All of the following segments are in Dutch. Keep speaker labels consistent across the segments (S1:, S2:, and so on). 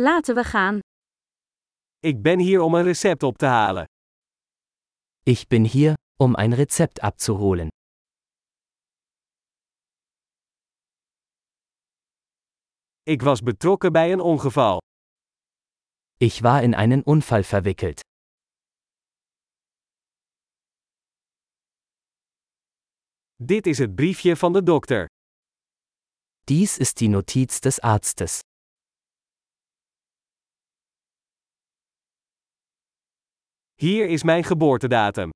S1: Laten we gaan.
S2: Ik ben hier om een recept op te halen.
S3: Ich bin hier, um ein Rezept abzuholen.
S2: Ik was betrokken bij een ongeval.
S3: Ich war in einen Unfall verwickelt.
S2: Dit is het briefje van de dokter.
S3: Dies ist die Notiz des Arztes.
S2: Hier is mijn geboortedatum.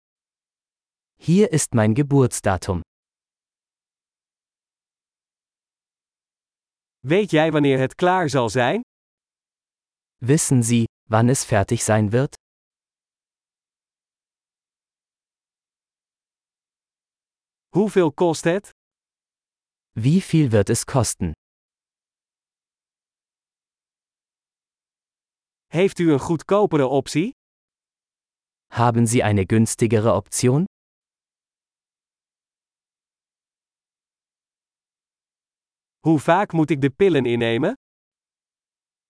S3: Hier ist mein Geburtsdatum.
S2: Weet jij wanneer het klaar zal zijn?
S3: Wissen Sie, wann es fertig sein wird?
S2: Hoeveel kost het?
S3: Wie viel wird es kosten?
S2: Heeft u een goedkopere optie?
S3: Haben Sie eine günstigere Option?
S2: Hoe vaak moet ik de pillen innemen?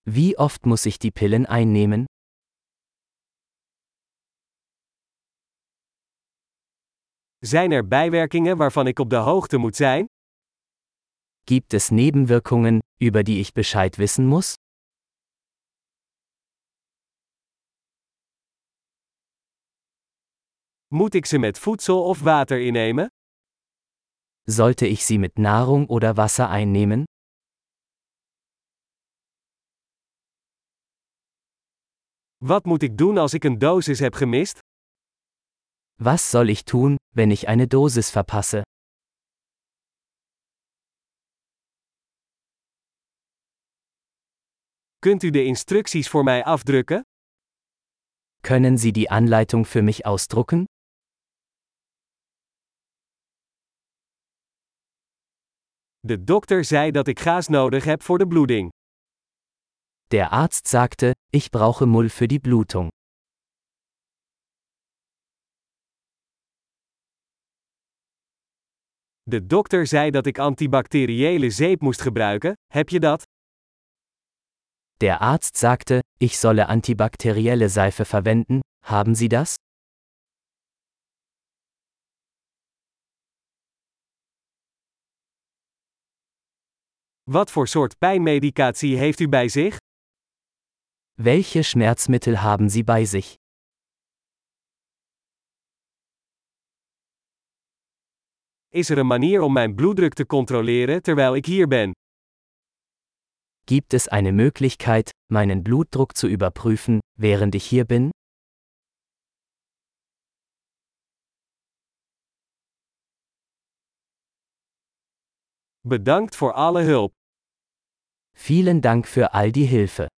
S3: Wie oft muss ich die Pillen einnehmen?
S2: Zijn er bijwerkingen waarvan ik op de hoogte moet zijn?
S3: Gibt es Nebenwirkungen, über die ich Bescheid wissen muss?
S2: Moet ik ze met voedsel of water innemen?
S3: Sollte ich sie mit Nahrung oder Wasser einnehmen?
S2: Wat moet ik doen als ik een dosis heb gemist?
S3: Was soll ich tun, wenn ich eine Dosis verpasse?
S2: Kunt u de instructies voor mij afdrukken?
S3: Können Sie die Anleitung für mich ausdrucken?
S2: De dokter zei dat ik gaas nodig heb voor de bloeding.
S3: Der Arzt sagte, ich brauche Mull für die Blutung.
S2: De dokter zei dat ik antibacteriële zeep moest gebruiken. Heb je dat?
S3: Der Arzt sagte, ich solle antibakterielle Seife verwenden, haben Sie das?
S2: Wat voor soort pijnmedicatie heeft u bij zich?
S3: Welche Schmerzmittel haben Sie bei sich?
S2: Is er een manier om mijn bloeddruk te controleren terwijl ik hier ben?
S3: Gibt es eine Möglichkeit, meinen Blutdruck zu überprüfen, während ich hier bin?
S2: Bedankt voor alle hulp.
S3: Vielen Dank für all die Hilfe.